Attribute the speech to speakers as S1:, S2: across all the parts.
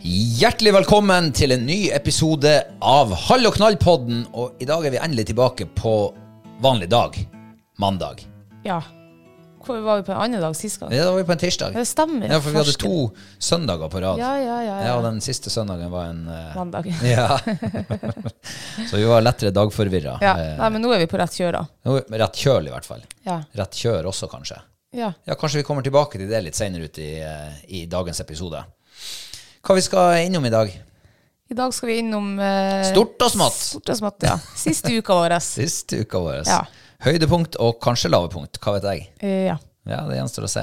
S1: Hjertelig velkommen til en ny episode av Hall og knall-podden. Og i dag er vi endelig tilbake på vanlig dag. Mandag.
S2: Ja. Hvor var vi på en annen dag sist gang?
S1: Ja, Da var vi på en tirsdag.
S2: Det stemmer.
S1: Ja, For vi hadde
S2: Første-
S1: to søndager på rad.
S2: Ja, ja, ja.
S1: Ja,
S2: ja.
S1: og den siste søndagen var en eh,
S2: Mandag.
S1: Ja. Så vi var lettere dagforvirra.
S2: Ja.
S1: Eh,
S2: Nei, men nå er vi på rett kjør, da.
S1: nå er vi Rett kjøl, i hvert fall.
S2: Ja.
S1: Rett kjør også, kanskje.
S2: ja.
S1: Ja, Kanskje vi kommer tilbake til det litt seinere ut i, eh, i dagens episode. Hva vi skal innom i dag?
S2: I dag skal vi innom eh,
S1: Stort og smått.
S2: Stort og smått, ja. Siste uka vår.
S1: Siste uka vår.
S2: Ja.
S1: Høydepunkt og kanskje lavepunkt, hva vet jeg.
S2: Eh, ja.
S1: Ja, Det gjenstår å se.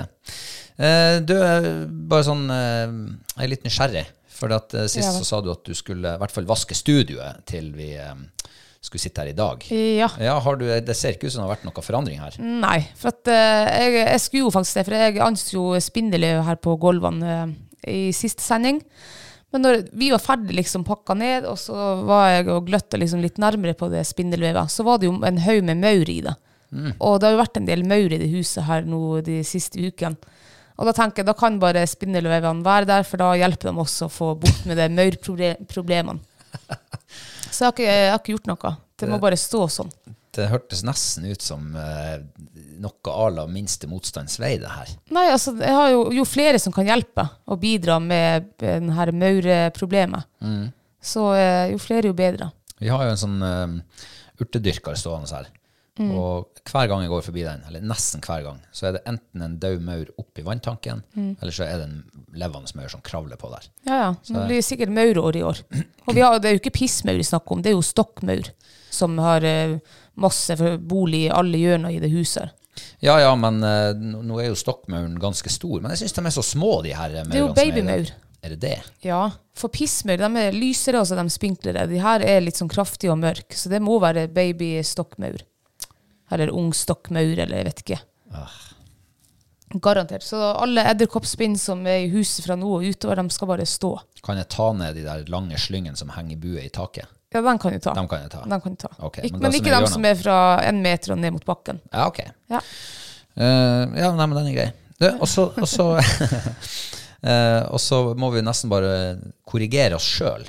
S1: Eh, Du er bare sånn eh, Jeg er litt nysgjerrig. For at eh, sist
S2: Ja vel.
S1: så sa du at du skulle i hvert fall vaske studioet til vi eh, skulle sitte her i dag.
S2: Eh, ja.
S1: Ja, har du, Det ser ikke ut som det har vært noe forandring her.
S2: Nei, for at eh, jeg, jeg skulle jo faktisk det, for jeg anser jo Spindeløv her på gulvene eh, i siste sending. Men når vi var ferdig liksom pakka ned, og så var jeg og gløtta liksom litt nærmere på det spindelvevet, så var det jo en haug med maur i det. Og det har jo vært en del maur i det huset her nå de siste ukene. Og da tenker jeg, da kan bare spindelvevene være der, for da hjelper de også å få bort med de maurproblemene. Så jeg har, ikke, jeg har ikke gjort noe. Det må bare stå sånn.
S1: Det hørtes nesten ut som eh, noe à la minste motstands vei, det her.
S2: Nei, altså, jeg har jo, jo flere som kan hjelpe og bidra med denne maurproblemet. Så eh, jo flere, jo bedre.
S1: Vi har jo en sånn eh, urtedyrker stående her.
S2: Mm.
S1: Og hver gang jeg går forbi den, eller nesten hver gang, så er det enten en død maur oppi vanntanken,
S2: Mm.
S1: eller så er det en levende maur som kravler på der.
S2: Ja, ja. Nå blir det sikkert maurår i år. Og vi har, det er jo ikke pissmaur vi snakker om, det er jo stokkmaur. Som har eh, masse for- bolig i alle hjørner i det huset. her.
S1: Ja ja, men eh, nå nå er jo stokkmauren ganske stor. Men jeg syns de er så små, de her eh, maurene.
S2: Det er jo
S1: som i
S2: babymaur.
S1: Er det det?
S2: Ja, for pissmaur de er lysere og så er de spinklere. De her er litt sånn kraftige og mørke, så det må være babystokkmaur. Eller ung stokkmaur, eller jeg vet ikke.
S1: Ah.
S2: Garantert. Så alle edderkoppspinn som er i huset fra nå og utover, de skal bare stå.
S1: Kan jeg ta ned de der lange slyngene som henger i buet i taket?
S2: Ja, den kan du ta.
S1: Dem kan jeg ta.
S2: Den kan du ta.
S1: Ok, men
S2: Ik men
S1: da som
S2: ikke
S1: jeg
S2: dem
S1: gjør
S2: som er fra en meter og ned mot bakken.
S1: Ja, ok.
S2: Ja.
S1: Eh, ja, nei, men den er grei. Du, Og så og så- eh, og så må vi nesten bare korrigere oss sjøl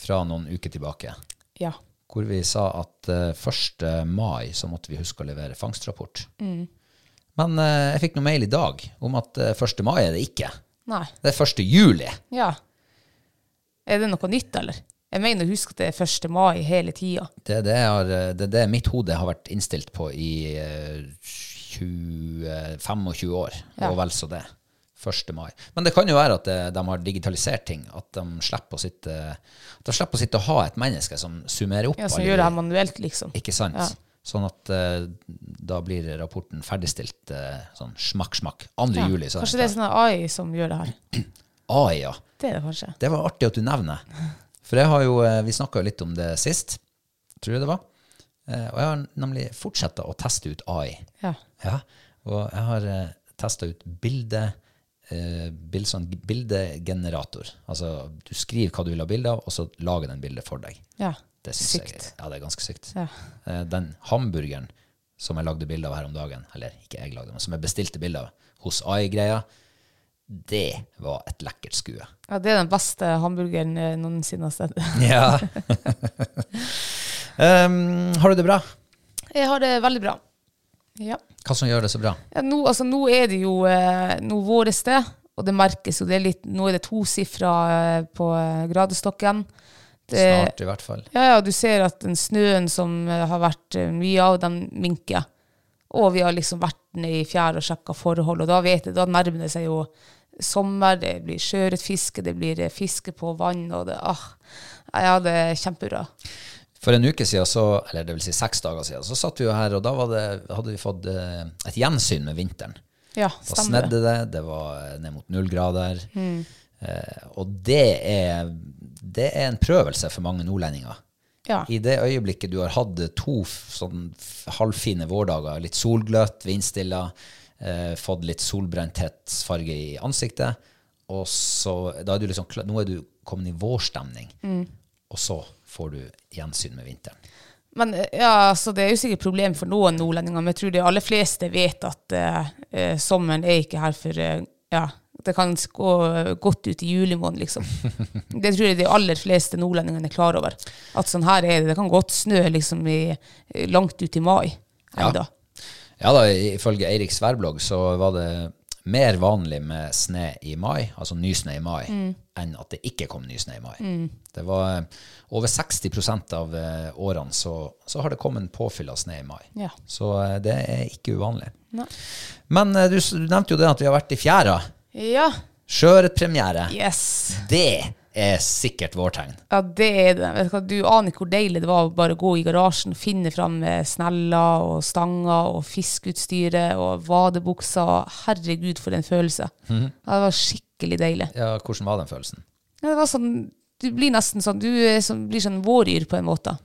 S1: fra noen uker tilbake.
S2: ja.
S1: Hvor vi sa at eh, 1. mai så måtte vi huske å levere fangstrapport.
S2: Mm.
S1: Men eh, jeg fikk noe mail i dag om at eh, 1. mai er det ikke.
S2: Nei.
S1: Det er 1. juli.
S2: Ja. Er det noe nytt, eller? Jeg mener å huske at det er 1. mai hele tida.
S1: Det er det, jeg har, eh, det, er det mitt hode har vært innstilt på i eh, 20, eh, 25 år,
S2: Ja.
S1: og vel så det. 1. mai. Men det kan jo være at eh, de har digitalisert ting, at de slipper å sitte, at de slipper å sitte og ha et menneske som summerer opp.
S2: Ja, som
S1: alle-
S2: gjør det her manuelt, liksom.
S1: Ikke sant?
S2: Ja.
S1: Sånn at eh, da blir rapporten ferdigstilt eh, sånn smakk, smakk. 2.
S2: Ja.
S1: juli. Så er
S2: Kanskje det
S1: den
S2: er sånn AI som gjør det her.
S1: klar. Ai, ja.
S2: Det er det kanskje.
S1: Det var artig at du nevner. For jeg har jo, eh, vi snakka jo litt om det sist, tror jeg det var. Eh, Og jeg har nemlig fortsatt å teste ut AI.
S2: Ja.
S1: Ja, og jeg har testa ut bilde, eh, bild, sånn bildegenerator. Altså du skriver hva du vil ha bilde av, og så lager den bildet for deg.
S2: ja.
S1: Det syns jeg
S2: Sykt.
S1: ja, det er ganske sykt.
S2: Ja.
S1: Eh, Den hamburgeren som jeg lagde bilde av her om dagen, eller ikke jeg lagde, men som jeg bestilte bilde av hos AI-greia, det var et lekkert skue.
S2: ja, det er den beste hamburgeren eh, noensinne har sett.
S1: Ja. Ehm, har du det bra?
S2: Jeg har det veldig bra. Ja.
S1: Hva som gjør det så bra?
S2: Ja, nå, altså, nå er det jo eh, nå våres det, og det merkes jo. Det er litt, nå er det tosifra eh, på eh, gradestokken. Det,
S1: Snart, i hvert fall.
S2: Ja, ja, du ser at den snøen som eh, har vært eh, mye av, den minker. Og vi har liksom vært nede i fjæra og sjekka forhold, og da vet jeg, da nærmer det seg jo sommer, det blir sjøørretfiske, det blir eh, fiske på vann, og det ah, Jeg hadde kjempebra.
S1: For en uke siden, så, eller det vil si seks dager siden, så satt vi jo her, og da var det, hadde vi fått eh, et gjensyn med vinteren.
S2: Ja,
S1: Da
S2: stemmer det. Mm.
S1: snedde det, det var eh, ned mot null grader. Eh, og det er, det er en prøvelse for mange nordlendinger.
S2: Ja.
S1: I det øyeblikket du har hatt to f- sånn f- halvfine vårdager, litt solgløtt, vindstilla, eh, fått litt solbrenthetsfarge i ansiktet, og så, da er du liksom, kla- nå er du kommet i vårstemning, og så får du gjensyn med vinteren.
S2: Men eh, ja, altså, det er jo sikkert problem for noen nordlendinger, men jeg tror de aller fleste vet at eh, eh, sommeren er ikke her for eh, ja, Det kan s- gå godt ut i juli måned, liksom. Det tror jeg de aller fleste nordlendingene er klar over. At sånn her er det. Det kan godt snø liksom i, langt ut i mai.
S1: Ja.
S2: enda.
S1: Ja da, ifølge Eirik Sværblogg så var det mer vanlig med snø i mai, altså ny snø i mai, enn at det ikke kom ny snø i mai. Det var eh, over 60 av eh, årene så, så har det kommet påfyll av snø i mai.
S2: Ja.
S1: Så eh, det er ikke uvanlig.
S2: Nei.
S1: Men eh, du, s- du nevnte jo det at vi har vært i fjæra.
S2: ja.
S1: Sjøørretpremiere.
S2: Yes.
S1: Det er sikkert vårtegn.
S2: Ja, det er det. Vet du, hva, du aner ikke hvor deilig det var å bare gå i garasjen, finne fram eh, sneller og stanger og fiskeutstyret og vadebukser. Herregud, for en følelse. Ja, det var skikkelig deilig.
S1: Ja, hvordan var den følelsen?
S2: Ja, det var sånn, du blir nesten sånn, du er sånn, blir sånn våryr på en måte.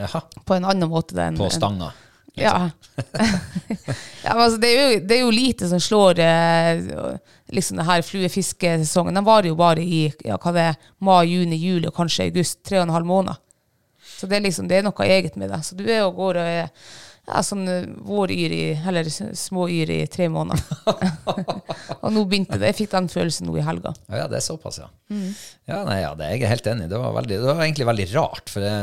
S1: Jaha,
S2: På en annen måte. enn-
S1: på
S2: enn-
S1: stanga.
S2: Ja. ja men altså, det, er jo, det er jo lite som slår eh, liksom det her fluefiskesesongen. Den varer jo bare i ja, hva det er, mai, juni, juli og kanskje august. Tre og en halv måned. Så det er liksom, det er noe eget med det. Så du er og går og er ja, sånn eh, våryr i, eller s- småyr i tre måneder. og nå begynte det. Jeg fikk den følelsen nå i helga.
S1: Ja, ja, det er såpass, ja. Ja, nei, ja, det er jeg helt enig i. Det, var veldig- det var egentlig veldig rart. For det,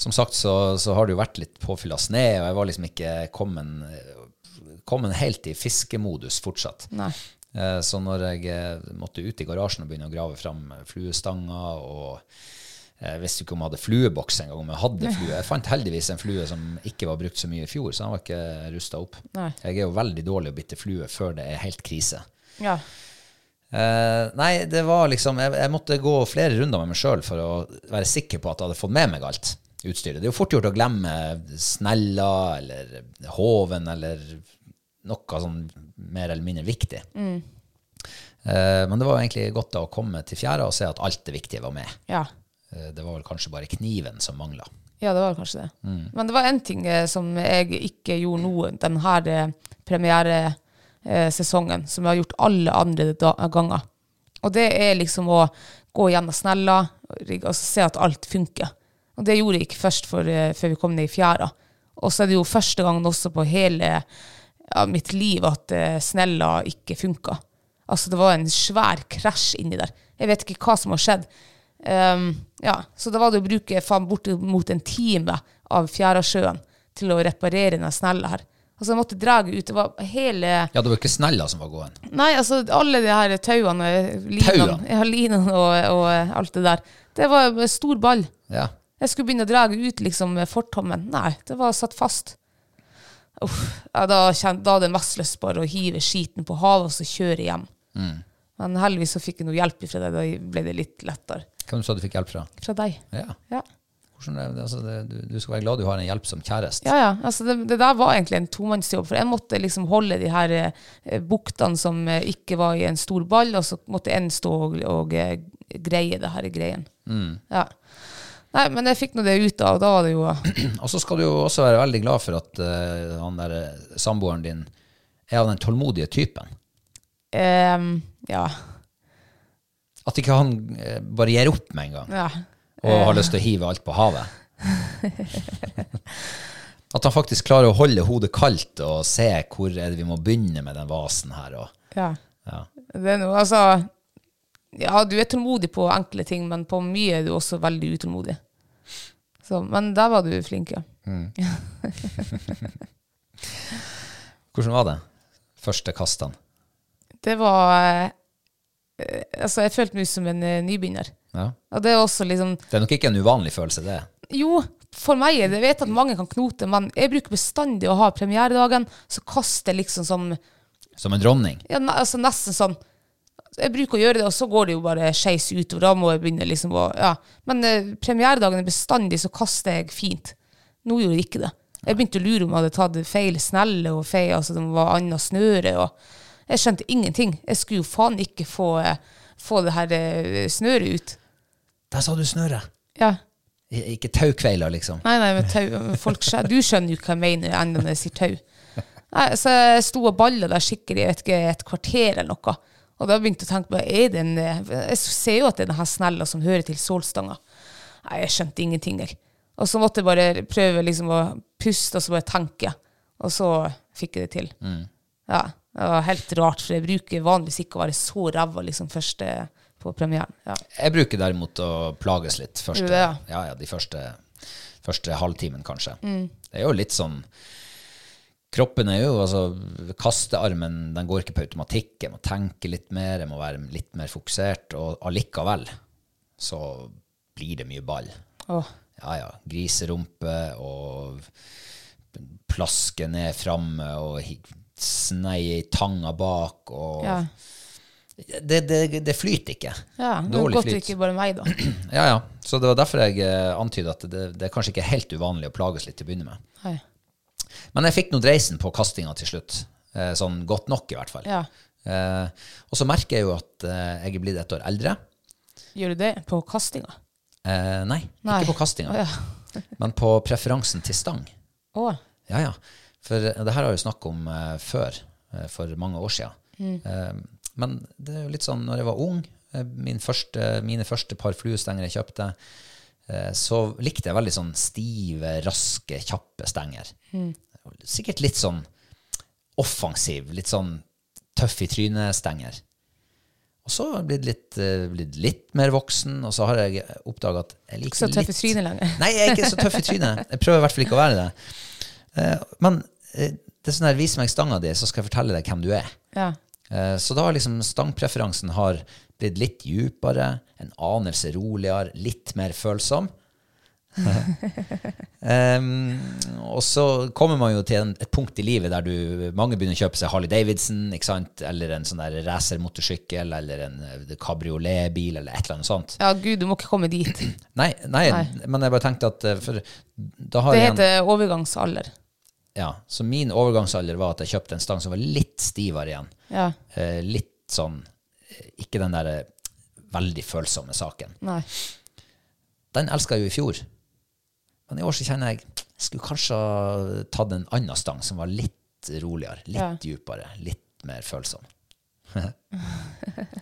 S1: som sagt så, så har det jo vært litt påfyll av snø, og jeg var liksom ikke kommet kommet helt i fiskemodus fortsatt.
S2: Nei.
S1: Eh, Så når jeg eh, måtte ut i garasjen og begynne å grave fram eh, fluestanger og eh, jeg visste ikke om jeg hadde flueboks engang. om Jeg hadde flue. Jeg fant heldigvis en flue som ikke var brukt så mye i fjor, så den var ikke rusta opp.
S2: Nei.
S1: Jeg er jo veldig dårlig å bytte flue før det er helt krise.
S2: Ja.
S1: Eh, nei, det var liksom jeg, jeg måtte gå flere runder med meg sjøl for å være sikker på at jeg hadde fått med meg alt utstyret. Det er jo fort gjort å glemme snella eller hoven eller noe sånn mer eller mindre viktig. Eh, men det var jo egentlig godt da å komme til fjæra og se at alt det viktige var med.
S2: ja.
S1: Eh, det var vel kanskje bare kniven som mangla.
S2: Ja, det var kanskje det. Men det var en ting eh, som jeg ikke gjorde nå denne premieresesongen, eh, som jeg har gjort alle andre da ganger. Og det er liksom å gå gjennom snella og rigge- altså se at alt funker. Og det gjorde jeg ikke først for, eh, før vi kom ned i fjæra. Og så er det jo første gangen også på hele ja, mitt liv at eh, snella ikke funka. Altså, det var en svær krasj inni der. Jeg vet ikke hva som har skjedd. Ehm, ja, så da var det å bruke faen bortimot en time av Fjærasjøen til å reparere den snella her. Altså, jeg måtte dra ut. Det var hele
S1: Ja, det var jo ikke snella som var gåen.
S2: Nei, altså alle de her tauene, linene,
S1: Tauene?
S2: ja, linene og, og alt det der. Det var en stor ball.
S1: Ja.
S2: Jeg skulle begynne å dra ut liksom fortommen. Nei, det var satt fast. Uff, ja, da, kjen- da hadde jeg mest lyst bare å hive skiten på havet og så kjøre hjem. Men heldigvis så fikk jeg noe hjelp fra deg, da ble det litt lettere.
S1: Hvem sa du fikk hjelp fra?
S2: Fra deg.
S1: Ja.
S2: Ja,
S1: Hvordan er det, altså, det, du, du skal være glad du har en hjelp som kjæreste.
S2: ja. ja. Altså, det, det der var egentlig en tomannsjobb, for jeg måtte liksom holde de her eh, buktene som eh, ikke var i en stor ball, og så måtte en stå og, og eh, greie det her greien. Ja. Nei, men jeg fikk nå det ut da, og da var det jo
S1: Og så skal du jo også være veldig glad for at eh, han der eh, samboeren din er av den tålmodige typen.
S2: ehm, Ja.
S1: At ikke han eh, bare gir opp med en gang
S2: ja.
S1: og har lyst til å hive alt på havet. At han faktisk klarer å holde hodet kaldt og se hvor er det vi må begynne med den vasen her. Og,
S2: ja.
S1: ja.
S2: Det er noe, altså Ja, du er tålmodig på enkle ting, men på mye er du også veldig utålmodig. Så, men der var du flink, ja.
S1: Hvordan var det? Første kastene.
S2: Det var eh, Altså, jeg følte meg som en eh, nybegynner.
S1: Ja.
S2: Og det er også liksom
S1: Det er nok ikke en uvanlig følelse, det.
S2: Jo, for meg er det Jeg vet at mange kan knote, men jeg bruker bestandig å ha premieredagen, så kaster jeg liksom som
S1: Som en dronning.
S2: ja, ne- altså Nesten sånn Jeg bruker å gjøre det, og så går det jo bare skeis utover. Da må jeg begynne liksom å Ja. Men eh, premieredagen er bestandig, så kaster jeg fint. Nå gjorde jeg ikke det. Jeg begynte å lure om jeg hadde tatt feil snelle og feil, altså det var annet snøre og Jeg skjønte ingenting. Jeg skulle jo faen ikke få, eh, få det her eh, snøret ut.
S1: Der sa du snøret!
S2: Ja.
S1: I- Ikke taukveiler, liksom.
S2: Nei, nei, men tau, folk skjø- du skjønner jo hva jeg mener enda når jeg sier tau. Nei, så jeg sto og balla der sikkert i jeg vet ikke, et kvarter eller noe. Og da begynte jeg å tenke på, er det en, eh, jeg ser jo at det er denne snella som hører til solstanga. Nei, jeg skjønte ingenting, jeg. Og så måtte jeg bare
S1: Mm.
S2: prøve liksom å puste, og så bare tenke. Og så fikk jeg det til. Ja. Det var helt rart, for jeg bruker vanligvis ikke å være så ræva liksom, først eh, på premieren. Ja.
S1: Jeg bruker derimot å plages litt første,
S2: Gjør du det,
S1: ja, ja, de første, første halvtimen, kanskje. Det er jo litt sånn Kroppen er jo altså Kastearmen den går ikke på automatikk. Jeg må tenke litt mer, jeg må være litt mer fokusert. Og allikevel så blir det mye ball.
S2: Åh.
S1: Ja ja. Griserumpe og plaske ned framme og hi- sneie i tanga bak og
S2: Ja.
S1: det, det, det flyter ikke.
S2: Ja, det er
S1: Dårlig
S2: godt det
S1: flyt.
S2: ikke bare meg, da.
S1: Ja, ja. Så det var derfor jeg eh, antydet at det, det er kanskje ikke helt uvanlig å plages litt til å begynne med.
S2: Nei.
S1: Men jeg fikk nå dreisen på kastinga til slutt. Eh, Sånn godt nok, i hvert fall.
S2: Ja.
S1: Eh, og så merker jeg jo at eh, jeg er blitt et år eldre.
S2: Gjør du det på kastinga?
S1: Eh, nei,
S2: Nei.
S1: ikke på
S2: Å
S1: kastinga,
S2: ja.
S1: men på preferansen til stang.
S2: Å,
S1: Ja, ja. For eh, det her har jeg jo snakket om eh, før, eh, for mange år siden.
S2: Mm.
S1: Eh, men det er jo litt sånn, når jeg var ung, eh, min første, mine første par fluestenger jeg kjøpte, eh, så likte jeg veldig sånn stive, raske, kjappe stenger.
S2: Mm.
S1: Sikkert litt sånn offensiv, litt sånn tøff i trynet stenger. Og så har jeg blitt litt, eh, blitt litt mer voksen, og så har jeg oppdaget at jeg
S2: Ikke så
S1: liker
S2: tøff i
S1: litt...
S2: trynet lenger.
S1: Nei, jeg er ikke så tøff i trynet. Jeg prøver i hvert fall ikke å være det. Eh, men eh, det er sånn her, vis meg stanga di, så skal jeg fortelle deg hvem du er.
S2: Ja.
S1: Eh, så da har liksom stangpreferansen har blitt litt djupere, en anelse roligere, litt mer følsom. Em, og så kommer man jo til en, et punkt i livet der du, mange begynner å kjøpe seg Harley Davidson, ikke sant? eller en sånn der racermotorsykkel, eller en eh, kabrioletbil, eller et eller annet sånt.
S2: ja, gud, du må ikke komme dit.
S1: Nei, nei,
S2: Nei.
S1: men jeg bare tenkte at eh, for da har
S2: Det
S1: jeg en,
S2: heter overgangsalder.
S1: ja, Så min overgangsalder var at jeg kjøpte en stang som var litt stivere igjen.
S2: Ja.
S1: Eh, litt sånn eh, Ikke den der eh, veldig følsomme saken.
S2: Nei.
S1: Den elska jeg jo i fjor. Men i år så kjenner jeg jeg skulle kanskje ha tatt en annen stang som var litt roligere, litt
S2: Ja.
S1: dypere, litt mer følsom.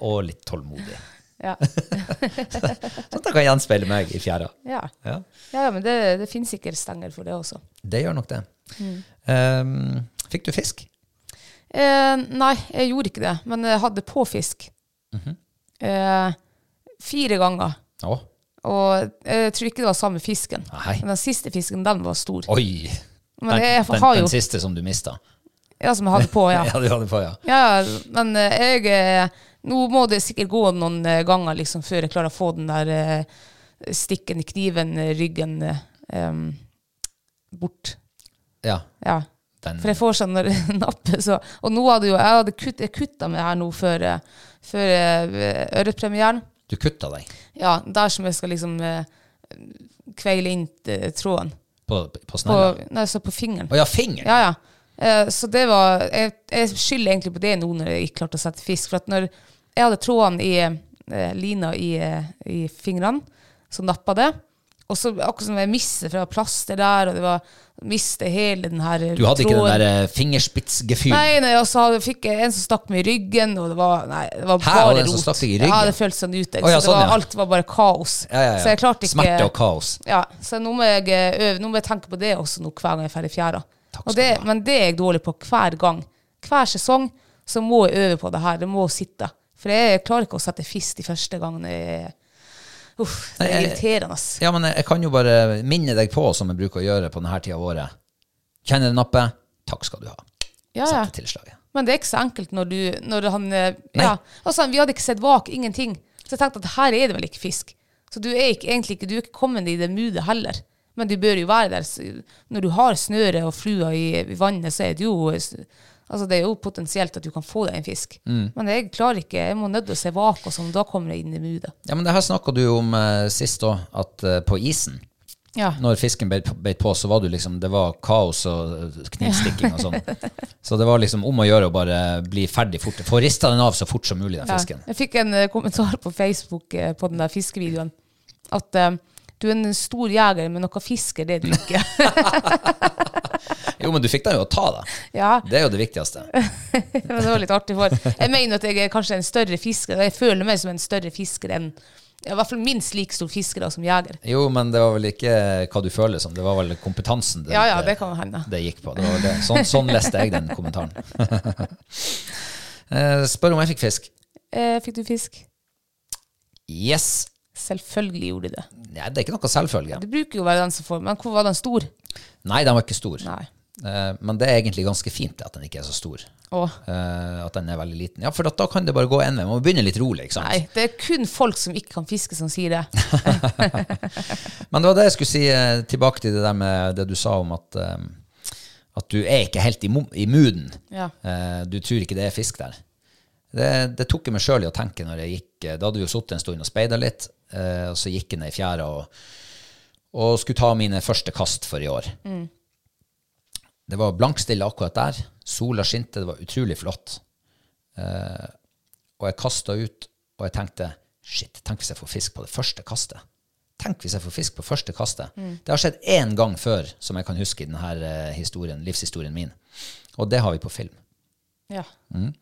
S1: Og litt tålmodig.
S2: Ja.
S1: Sånn at jeg kan gjenspeile meg i fjæra.
S2: Ja.
S1: Ja.
S2: ja, ja, men det, det finnes sikkert stenger for det også.
S1: Det gjør nok det.
S2: Mm.
S1: Ehm, fikk du fisk?
S2: Eh, nei, jeg gjorde ikke det, men jeg hadde påfisk. Mhm. eh, fire ganger.
S1: Å,
S2: Og jeg tror ikke det var samme fisken.
S1: nei.
S2: Men den siste fisken, den var stor.
S1: Oi!
S2: Men
S1: den,
S2: jeg
S1: den,
S2: har jo
S1: den siste som du mista.
S2: Ja, som jeg hadde på, ja.
S1: Ja. du hadde på, ja.
S2: Ja, men eh, jeg eh, Nå må det sikkert gå noen eh, ganger liksom, før jeg klarer å få den der eh, stikken i kniven, eh, ryggen, eh, em, bort.
S1: ja
S2: Ja.
S1: den,
S2: For jeg får sånn når jeg napper, så Og nå hadde jo jeg hadde kutt, jeg kutta meg her nå før, eh, før eh, ørretpremieren.
S1: du kutta deg
S2: Ja, der som jeg skal liksom eh, kveile inn eh, tråden.
S1: på, på
S2: På,
S1: snella? Å
S2: nei, så på fingeren.
S1: ja, fingeren!
S2: Ja, ja. Eh, Så det var Jeg, jeg skylder egentlig på det nå når jeg ikke klarte å sette fisk. For at når jeg hadde trådene i eh, lina i, eh, i fingrene, så nappa det. Og så akkurat som jeg mistet fra plaster der, og det var mistet hele den her eh,
S1: Du hadde ikke den
S2: tråden.
S1: der eh, fingerspitzgefühl?
S2: Nei, nei, og så hadde- fikk jeg en som stakk meg i ryggen, og det var, nei, det var
S1: Hæ,
S2: bare
S1: var
S2: rot.
S1: det en som stakk deg i ryggen?
S2: Ja, det føltes sånn ut. jeg.
S1: Å, ja,
S2: så det
S1: sånn,
S2: var,
S1: ja.
S2: Alt var bare kaos.
S1: Ja, ja, ja.
S2: Så jeg klarte ikke
S1: Smerte og kaos.
S2: ja, så nå må jeg eh, øve, nå må jeg tenke på det også nå hver gang jeg er ferdig i fjæra.
S1: Takk
S2: Og
S1: skal
S2: det,
S1: du ha.
S2: men det er jeg dårlig på hver gang. Hver sesong så må jeg øve på det her, det må sitte. For jeg klarer ikke å sette fisk de første gangene. jeg- Uff, det er
S1: Nei, jeg-
S2: irriterende. ass.
S1: Ja, men jeg, jeg kan jo bare minne deg på, som jeg bruker å gjøre på denne tida av året. Kjenner du nappet? Takk skal du ha.
S2: Ja, ja.
S1: Sette tilslaget.
S2: Men det er ikke så enkelt når du når han, eh, ja, altså, Vi hadde ikke sett vak, ingenting. Så jeg tenkte at her er det vel ikke fisk. Så du er ikke, egentlig ikke, du er ikke kommet i det moodet heller. Men du bør jo være der. Så Når du har snøret og flua i, i vannet, så er det jo altså det er jo potensielt at du kan få deg en fisk. Men jeg klarer ikke, jeg må nødt til å se vak, og sånn, da kommer jeg inn i moodet.
S1: Ja, men det her snakka du jo om eh, sist òg, at eh, på isen
S2: Ja.
S1: når fisken beit, beit på, så var det liksom, det var kaos og knivstikking og sånn. Så det var liksom om å gjøre å bare bli ferdig fort. Få rista den av så fort som mulig, den fisken.
S2: Jeg fikk en eh, kommentar på Facebook eh, på den der fiskevideoen. At eh, du er en stor jeger, men noe fisker, det er du ikke.
S1: Jo, men du fikk den jo å ta, da.
S2: ja.
S1: Det er jo det viktigste.
S2: Men det var litt artig for Jeg mener at jeg er kanskje en større fisker. og Jeg føler meg som en større fisker enn Ja, I hvert fall minst like stor fisker da, som jeger.
S1: Jo, men det var vel ikke hva du føler som, det var vel kompetansen det,
S2: Ja, ja, det kan hende.
S1: det gikk på. Det var vel det. Sånn, sånn leste jeg den kommentaren. Eh, Spør om jeg fikk fisk.
S2: Eh, fikk du fisk?
S1: Yes.
S2: Selvfølgelig gjorde de det.
S1: Nei, det er ikke noe selvfølge.
S2: Det bruker jo å være den som får, men hvor var den stor?
S1: Nei, den var ikke stor.
S2: Nei.
S1: Eh, Men det er egentlig ganske fint at den ikke er så stor.
S2: Å,
S1: Eh, At den er veldig liten. Ja, for at da kan det bare gå én vei. Man må begynne litt rolig. ikke sant?
S2: nei. Det er kun folk som ikke kan fiske, som sier det.
S1: Men det var det jeg skulle si eh, tilbake til det der med det du sa om at, eh, at du er ikke helt i, mo- i mooden.
S2: Ja.
S1: Eh, Du tror ikke det er fisk der. Det, det tok jeg meg sjøl i å tenke når jeg gikk eh, Da hadde vi jo sittet en stund og speida litt, eh, og så gikk jeg ned i fjæra og, og skulle ta mine første kast for i år.
S2: Mm.
S1: Det var blankstille akkurat der. Sola skinte, det var utrolig flott. Eh, og jeg kasta ut, og jeg tenkte shit, tenk hvis jeg får fisk på det første kastet. Tenk hvis jeg får fisk på første kastet. Det har skjedd én gang før, som jeg kan huske i denne eh, historien, livshistorien min. Og det har vi på film.
S2: Ja.
S1: Mm.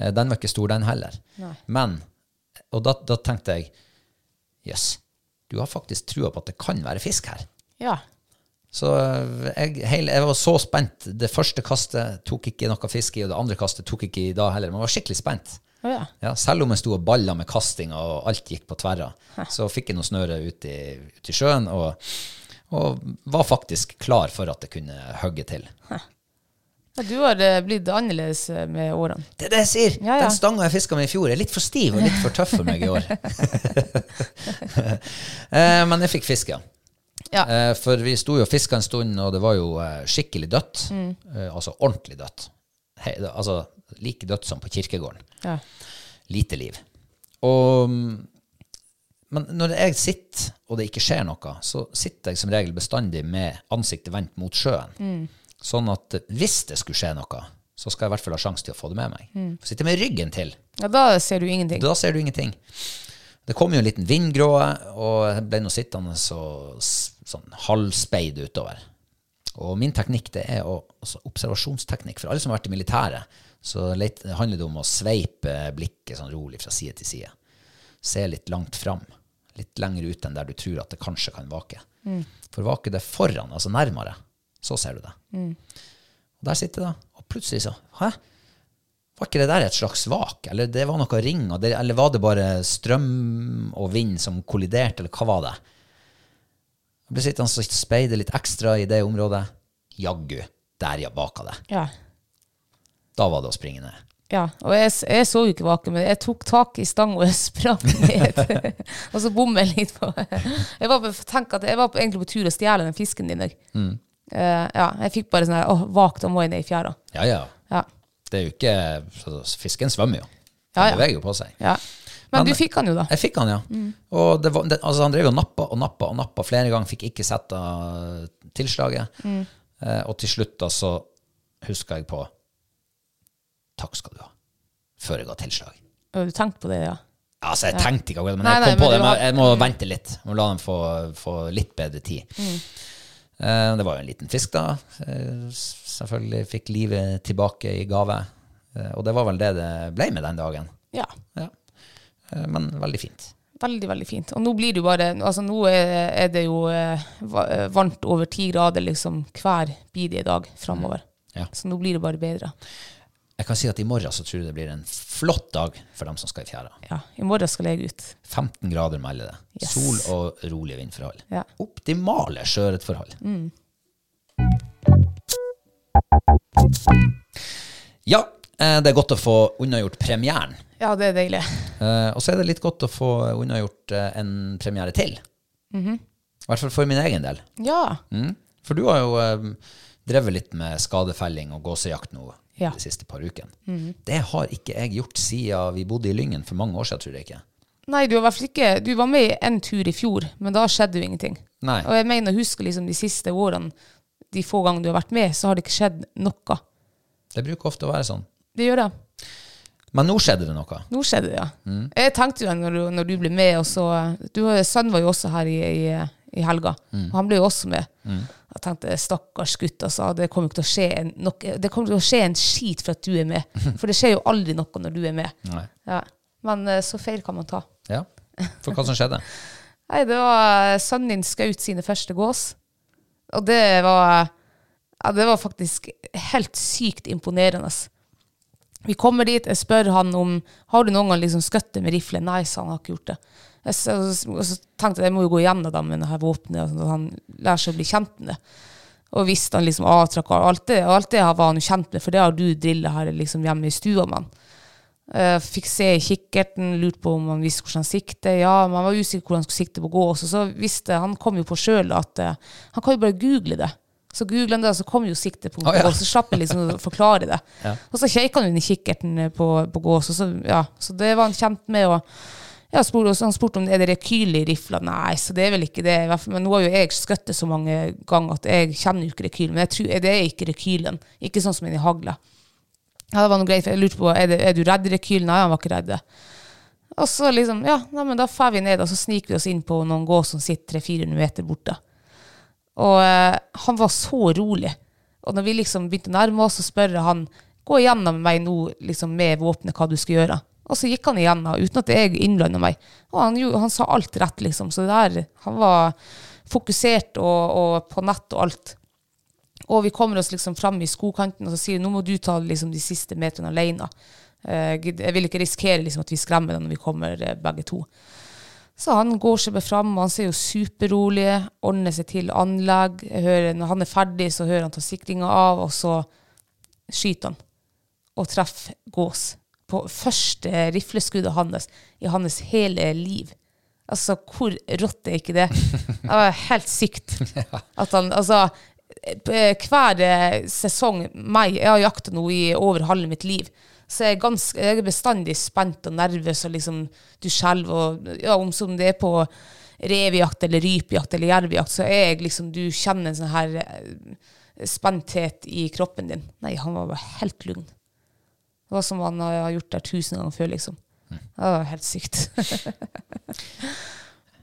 S1: Eh, Den var ikke stor, den heller.
S2: Nei.
S1: Men, og da, da tenkte jeg, jøss, yes, du har faktisk trua på at det kan være fisk her.
S2: ja.
S1: Så eh, jeg, hele, jeg var så spent. Det første kastet tok ikke noe fisk i, og det andre kastet tok ikke i da heller. Man var skikkelig spent.
S2: Å ja.
S1: Ja, selv om jeg sto og balla med kastinga og alt gikk på tverra, så fikk jeg noe snøre ut i, ut i sjøen og, og var faktisk klar for at det kunne hogge til.
S2: Ja, Du har eh, blitt annerledes eh, med årene.
S1: Det er det jeg sier!
S2: Ja, ja.
S1: Den stanga jeg fiska med i fjor, er litt for stiv og litt for tøff for meg i år. Eh, Men jeg fikk fisk, ja.
S2: Ja.
S1: Eh, For vi sto jo og fiska en stund, og det var jo eh, skikkelig dødt.
S2: Mm.
S1: Eh, Altså ordentlig dødt. He- Altså like dødt som på kirkegården.
S2: Ja.
S1: lite liv. Og, mm, men når jeg sitter, og det ikke skjer noe, så sitter jeg som regel bestandig med ansiktet vendt mot sjøen. Sånn at hvis det skulle skje noe, så skal jeg i hvert fall ha sjanse til å få det med meg. Sitte med ryggen til.
S2: ja, da ser du ingenting.
S1: Da ser du ingenting. Det kom jo en liten vindgråe, og jeg ble nå sittende så, s- sånn halvspeid utover. Og min teknikk det er å, altså observasjonsteknikk. For alle som har vært i militæret, så leit- handler det om å sveipe blikket sånn rolig fra side til side. Se litt langt fram. Litt lenger ut enn der du tror at det kanskje kan vake. For vaker det foran, altså nærmere, så ser du det. Og der sitter jeg da, og plutselig så Hæ? Var ikke det der et slags vak? Eller det var noe ring? og Det, eller var det bare strøm og vind som kolliderte, eller hva var det? Jeg ble sittende og speide litt ekstra i det området. Jaggu, der ja, baka det.
S2: Ja.
S1: Da var det å springe ned.
S2: ja. Og jeg, s- jeg så jo ikke vaken, men jeg tok tak i stang og jeg sprang ned. og så bommer jeg litt på Jeg var, på, tenk at jeg var på, egentlig på tur å stjele den fisken din. jeg. Eh, ja, jeg fikk bare sånn her Åh, vak, da må jeg ned i fjæra.
S1: Ja, ja.
S2: Ja.
S1: Det er jo ikke altså, Fisken svømmer jo. Den
S2: Ja, ja.
S1: beveger jo på seg.
S2: ja. Men, du fikk han jo, da.
S1: Jeg fikk han, ja.
S2: Mm.
S1: Og det var, det, altså, han drev jo og nappa og nappa og nappa flere ganger, fikk ikke sett av tilslaget.
S2: Mm.
S1: Eh, og til slutt da så huska jeg på Takk skal du ha. Før jeg ga tilslag.
S2: Ja, Du tenkte på det, ja.
S1: Altså, jeg tenkte ikke akkurat, men
S2: Nei,
S1: jeg kom
S2: nei, men
S1: på det.
S2: du
S1: Men
S2: har- Mm.
S1: jeg må vente litt. Jeg må la dem få, få litt bedre tid.
S2: Mm.
S1: Eh, det var jo en liten fisk, da. Eh, s- selvfølgelig fikk livet tilbake i gave. Eh, og det var vel det det ble med den dagen.
S2: Ja.
S1: Ja. Eh, men veldig fint.
S2: Veldig, veldig fint. Og nå blir det jo bare Altså, nå er, er det jo eh, va- eh, varmt over ti grader liksom hver bidige dag framover.
S1: Ja.
S2: Så nå blir det bare bedre.
S1: Jeg kan si at i morgen så tror jeg det blir en flott dag for dem som skal i fjæra.
S2: Ja. I morgen skal jeg ut.
S1: 15 grader melder det.
S2: Yes.
S1: Sol og rolige vindforhold.
S2: Ja.
S1: Optimale sjøørretforhold. Ja, eh, det er godt å få unnagjort premieren.
S2: Ja, det er deilig.
S1: Eh, Og så er det litt godt å få unnagjort eh, en premiere til. I hvert fall for min egen del.
S2: Ja.
S1: Mm. For du har jo eh, drevet litt med skadefelling og gåsejakt nå
S2: Ja. Mm-hmm.
S1: de siste par ukene. Det har ikke jeg gjort siden vi bodde i Lyngen for mange år siden, tror jeg ikke.
S2: Nei, du har i hvert fall ikke Du var med i en tur i fjor, men da skjedde jo ingenting.
S1: Nei.
S2: Og jeg mener, husker liksom de siste årene, de få gangene du har vært med, så har det ikke skjedd noe.
S1: Det bruker ofte å være sånn.
S2: Det gjør det.
S1: Men nå skjedde det noe.
S2: Nå skjedde det, ja. Jeg tenkte jo når du, når du ble med, og så du, Sønnen var jo også her i, i, i helga, og han ble jo også med. Jeg tenkte stakkars gutt, altså, det kommer ikke til å skje en, nok, det kommer til å skje en skit for at du er med. For det skjer jo aldri noe når du er med.
S1: Nei.
S2: Ja. Men eh, så feil kan man ta.
S1: Ja. For hva som skjedde?
S2: Nei, det var sønnen din skjøt sine første gås. Og det var ja, Det var faktisk helt sykt imponerende. Vi kommer dit, jeg spør han om Har du noen gang liksom skutt det med rifle. Nei, sa han, har ikke gjort det. Jeg, så, og så tenkte jeg jeg må jo gå igjennom det med det her våpenet, og sånn at han lærer seg å bli kjent med det. Og visste han liksom avtrakk og alt det, alt det her var han jo kjent med, for det har du drilla her liksom hjemme i stua med han. Eh, fikk se i kikkerten, lurte på om han visste hvordan han sikte. Ja, men han var usikker hvor han skulle sikte på gås. Og så visste han kom jo på sjøl at eh, han kan jo bare google det. Så googla han det, og så kom jo siktet på
S1: Å, ja.
S2: gås. Så slapp jeg liksom å forklare det. Og så kjekka han inn i kikkerten eh, på, på gås, og så, ja, så det var han kjent med. Og ja, spor, og så han spurte om det er det rekyl i rifla. Nei, så det er vel ikke det. i hvert fall. Men nå har jo jeg skutt det så mange ganger at jeg kjenner jo ikke rekyl. Men jeg tror, det er ikke rekylen. Ikke sånn som en i hagla. Ja, det var noe greit, for jeg lurte på, er, det, er du redd rekyl? Nei, han var ikke redd. Og så liksom, ja, nei, men da fær vi ned, og så sniker vi oss inn på noen gås som sitter 300-400 meter borte. Og eh, han var så rolig. Og når vi liksom begynte å nærme oss, så spør jeg han, gå igjennom meg nå liksom, med våpenet hva du skal gjøre. Og så gikk han igjennom, uten at jeg innblandet meg. Og han, gjorde- han sa alt rett, liksom. Så det der, han var fokusert og, og på nett og alt. Og vi kommer oss liksom fram i skogkanten, og så sier hun nå må du ta liksom de siste meterne alene. Eh, gidd- jeg vil ikke risikere liksom at vi skremmer deg når vi kommer eh, begge to. Så han går seg bare fram, og han ser jo superrolig, ordner seg til anlegg. Jeg hører, når han er ferdig, så hører han ta sikringa av, og så skyter han. Og treffer gås. På første rifleskuddet hans i hans hele liv. Altså, hvor rått er ikke det? Det var helt sykt. At han, altså, eh, hver eh, sesong, meg, jeg har jakta nå i over halve mitt liv, så jeg er, ganske, jeg er bestandig spent og nervøs, og liksom du skjelver, og ja, om som det er på revejakt eller rypejakt eller jervejakt, så er jeg liksom, du kjenner en sånn her eh, spenthet i kroppen din. Nei, han var bare helt lugn. Det var som han har gjort der tusen ganger før, liksom. Det var helt sykt.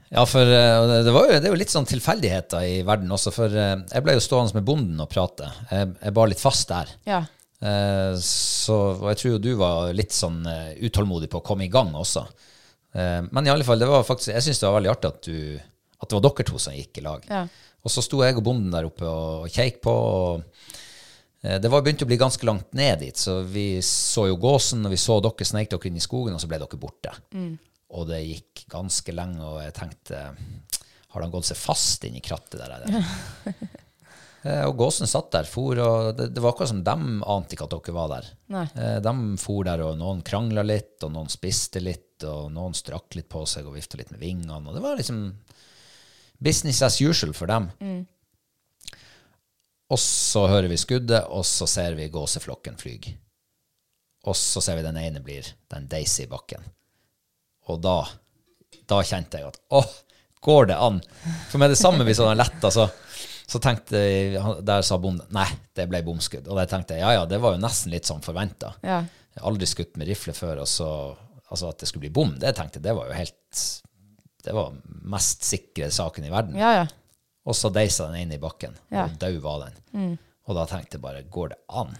S1: Ja, for eh, og det, det, var jo, det er jo litt sånn tilfeldigheter i verden også, for eh, jeg ble jo stående med bonden og prate. Jeg, jeg bar litt fast der.
S2: ja.
S1: Eh, Så og jeg tror jo du var litt sånn eh, utålmodig på å komme i gang også. Eh, Men i alle fall, det var faktisk, jeg syns det var veldig artig at, du, at det var dere to som gikk i lag.
S2: Ja.
S1: Og så sto jeg og bonden der oppe og keik på. og eh, det var begynte å bli ganske langt ned dit, så vi så jo gåsen, og vi så dere sneik dere inn i skogen, og så ble dere borte. Og det gikk ganske lenge, og jeg tenkte Har han gått seg fast inn i krattet der? eller? Eh, Og gåsen satt der, for, og det, det var akkurat som dem ante ikke at dere var der.
S2: Nei.
S1: Eh, De for der, og noen krangla litt, og noen spiste litt, og noen strakk litt på seg og vifta litt med vingene. Og det var liksom business as usual for dem. Og så hører vi skuddet, og så ser vi gåseflokken flyg. Og så ser vi den ene blir den Daisy i bakken. Og da, da kjente jeg at åh, går det an? For med det samme vi så den letta, så, så tenkte jeg, han- Der sa bonden nei, det ble bomskudd. Og der tenkte jeg ja ja, det var jo nesten litt som forventa.
S2: Ja.
S1: Jeg har aldri skutt med rifle før, og så altså at det skulle bli bom, det tenkte jeg det var jo helt Det var mest sikre saken i verden.
S2: Ja, ja.
S1: Og så deisa den inn i bakken,
S2: Ja. Mm.
S1: og dau var den. Og da tenkte jeg bare, går det an?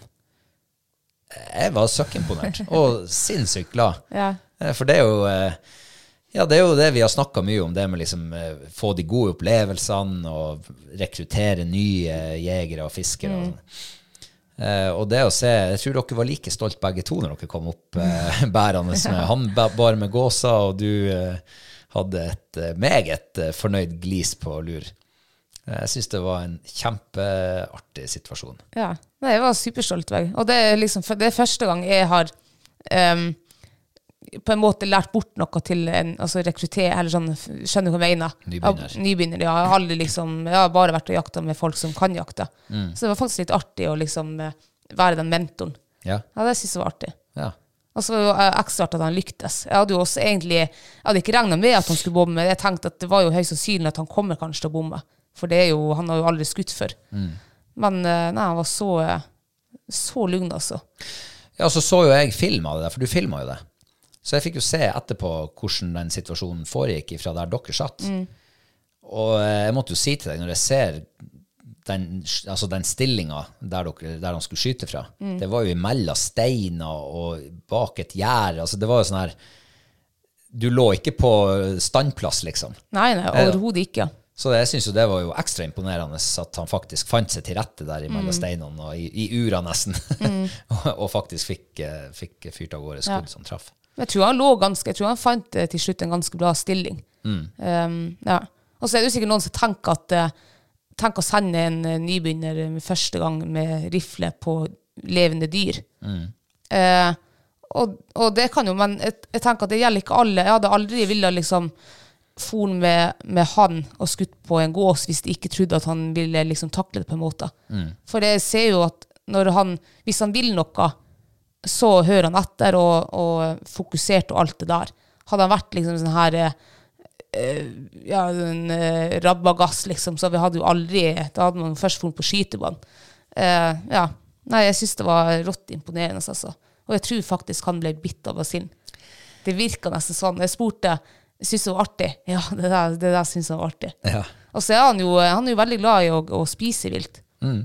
S1: Jeg var søkkimponert, og sinnssykt glad.
S2: Ja.
S1: Eh, For det er jo eh, ja, det er jo det vi har snakka mye om, det med liksom eh, få de gode opplevelsene og rekruttere nye jegere og fiskere. og sånn. Eh, og det å se Jeg tror dere var like stolt begge to når dere kom opp eh, bærende med han ba- bar med gåsa, og du eh, hadde et eh, meget eh, fornøyd glis på lur. Eh, Jeg syns det var en kjempeartig situasjon.
S2: Ja. Nei, jeg var superstolt. jeg. Og det er, liksom, det er første gang jeg har em, på en måte lært bort noe til en altså rekruttere, eller sånn, skjønner du hva jeg mener?
S1: Nybegynner.
S2: Ja, nybegynner, ja. Jeg har, aldri liksom, jeg har bare vært og jakta med folk som kan jakte. Så det var faktisk litt artig å liksom eh, være den mentoren.
S1: Ja,
S2: Ja, det syns jeg var artig.
S1: ja.
S2: Og så var det jo eh, ekstra artig at han lyktes. Jeg hadde jo også egentlig, jeg hadde ikke regna med at han skulle bomme. Jeg tenkte at det var jo høyst sannsynlig at han kommer kanskje til å bomme. For det er jo, han har jo aldri skutt før. Men eh, nei, han var så, eh, så lugn, altså.
S1: Ja, så så jo jeg film av det der, for du filma jo det. Så jeg fikk jo se etterpå hvordan den situasjonen foregikk fra der dere satt. Og eh, jeg måtte jo si til deg, når jeg ser den, altså den stillinga der, dere- der han skulle skyte fra, det var jo imellom steiner og bak et gjerde. Altså det var jo sånn her du lå ikke på standplass, liksom.
S2: Nei, nei, overhodet ikke.
S1: Så jeg syns jo det var jo ekstra imponerende at han faktisk fant seg til rette der mellom steinene og i, i ura, nesten. og, og faktisk fikk, eh, fikk fyrt av gårde skudd som traff.
S2: Men Jeg tror han lå ganske, jeg tror han fant eh, til slutt en ganske bra stilling. Um, ja. Og så er det jo sikkert noen som tenker at eh, tenker å sende en eh, nybegynner eh, første gang med rifle på levende dyr. Eh, og, og det kan jo, men jeg, jeg tenker at det gjelder ikke alle. Jeg hadde aldri villet liksom forn med, med han og skutt på en gås hvis de ikke trodde at han ville liksom takle det på en måte. For jeg ser jo at når han, hvis han vil noe, så hører han etter og, og fokusert og alt det der. Hadde han vært liksom sånn her eh, eh, ja, en eh, rabagass, liksom, så vi hadde jo aldri Da hadde man først funnet på skytebanen. Eh, ja. Nei, jeg syns det var rått imponerende, altså. Og jeg tror faktisk han ble bitt av basillen. Det virka nesten sånn. Jeg spurte Syns du det var artig? Ja, det der, det der syns jeg var artig.
S1: Ja.
S2: Og så er han jo, eh, han er jo veldig glad i å, å spise vilt.
S1: Mm.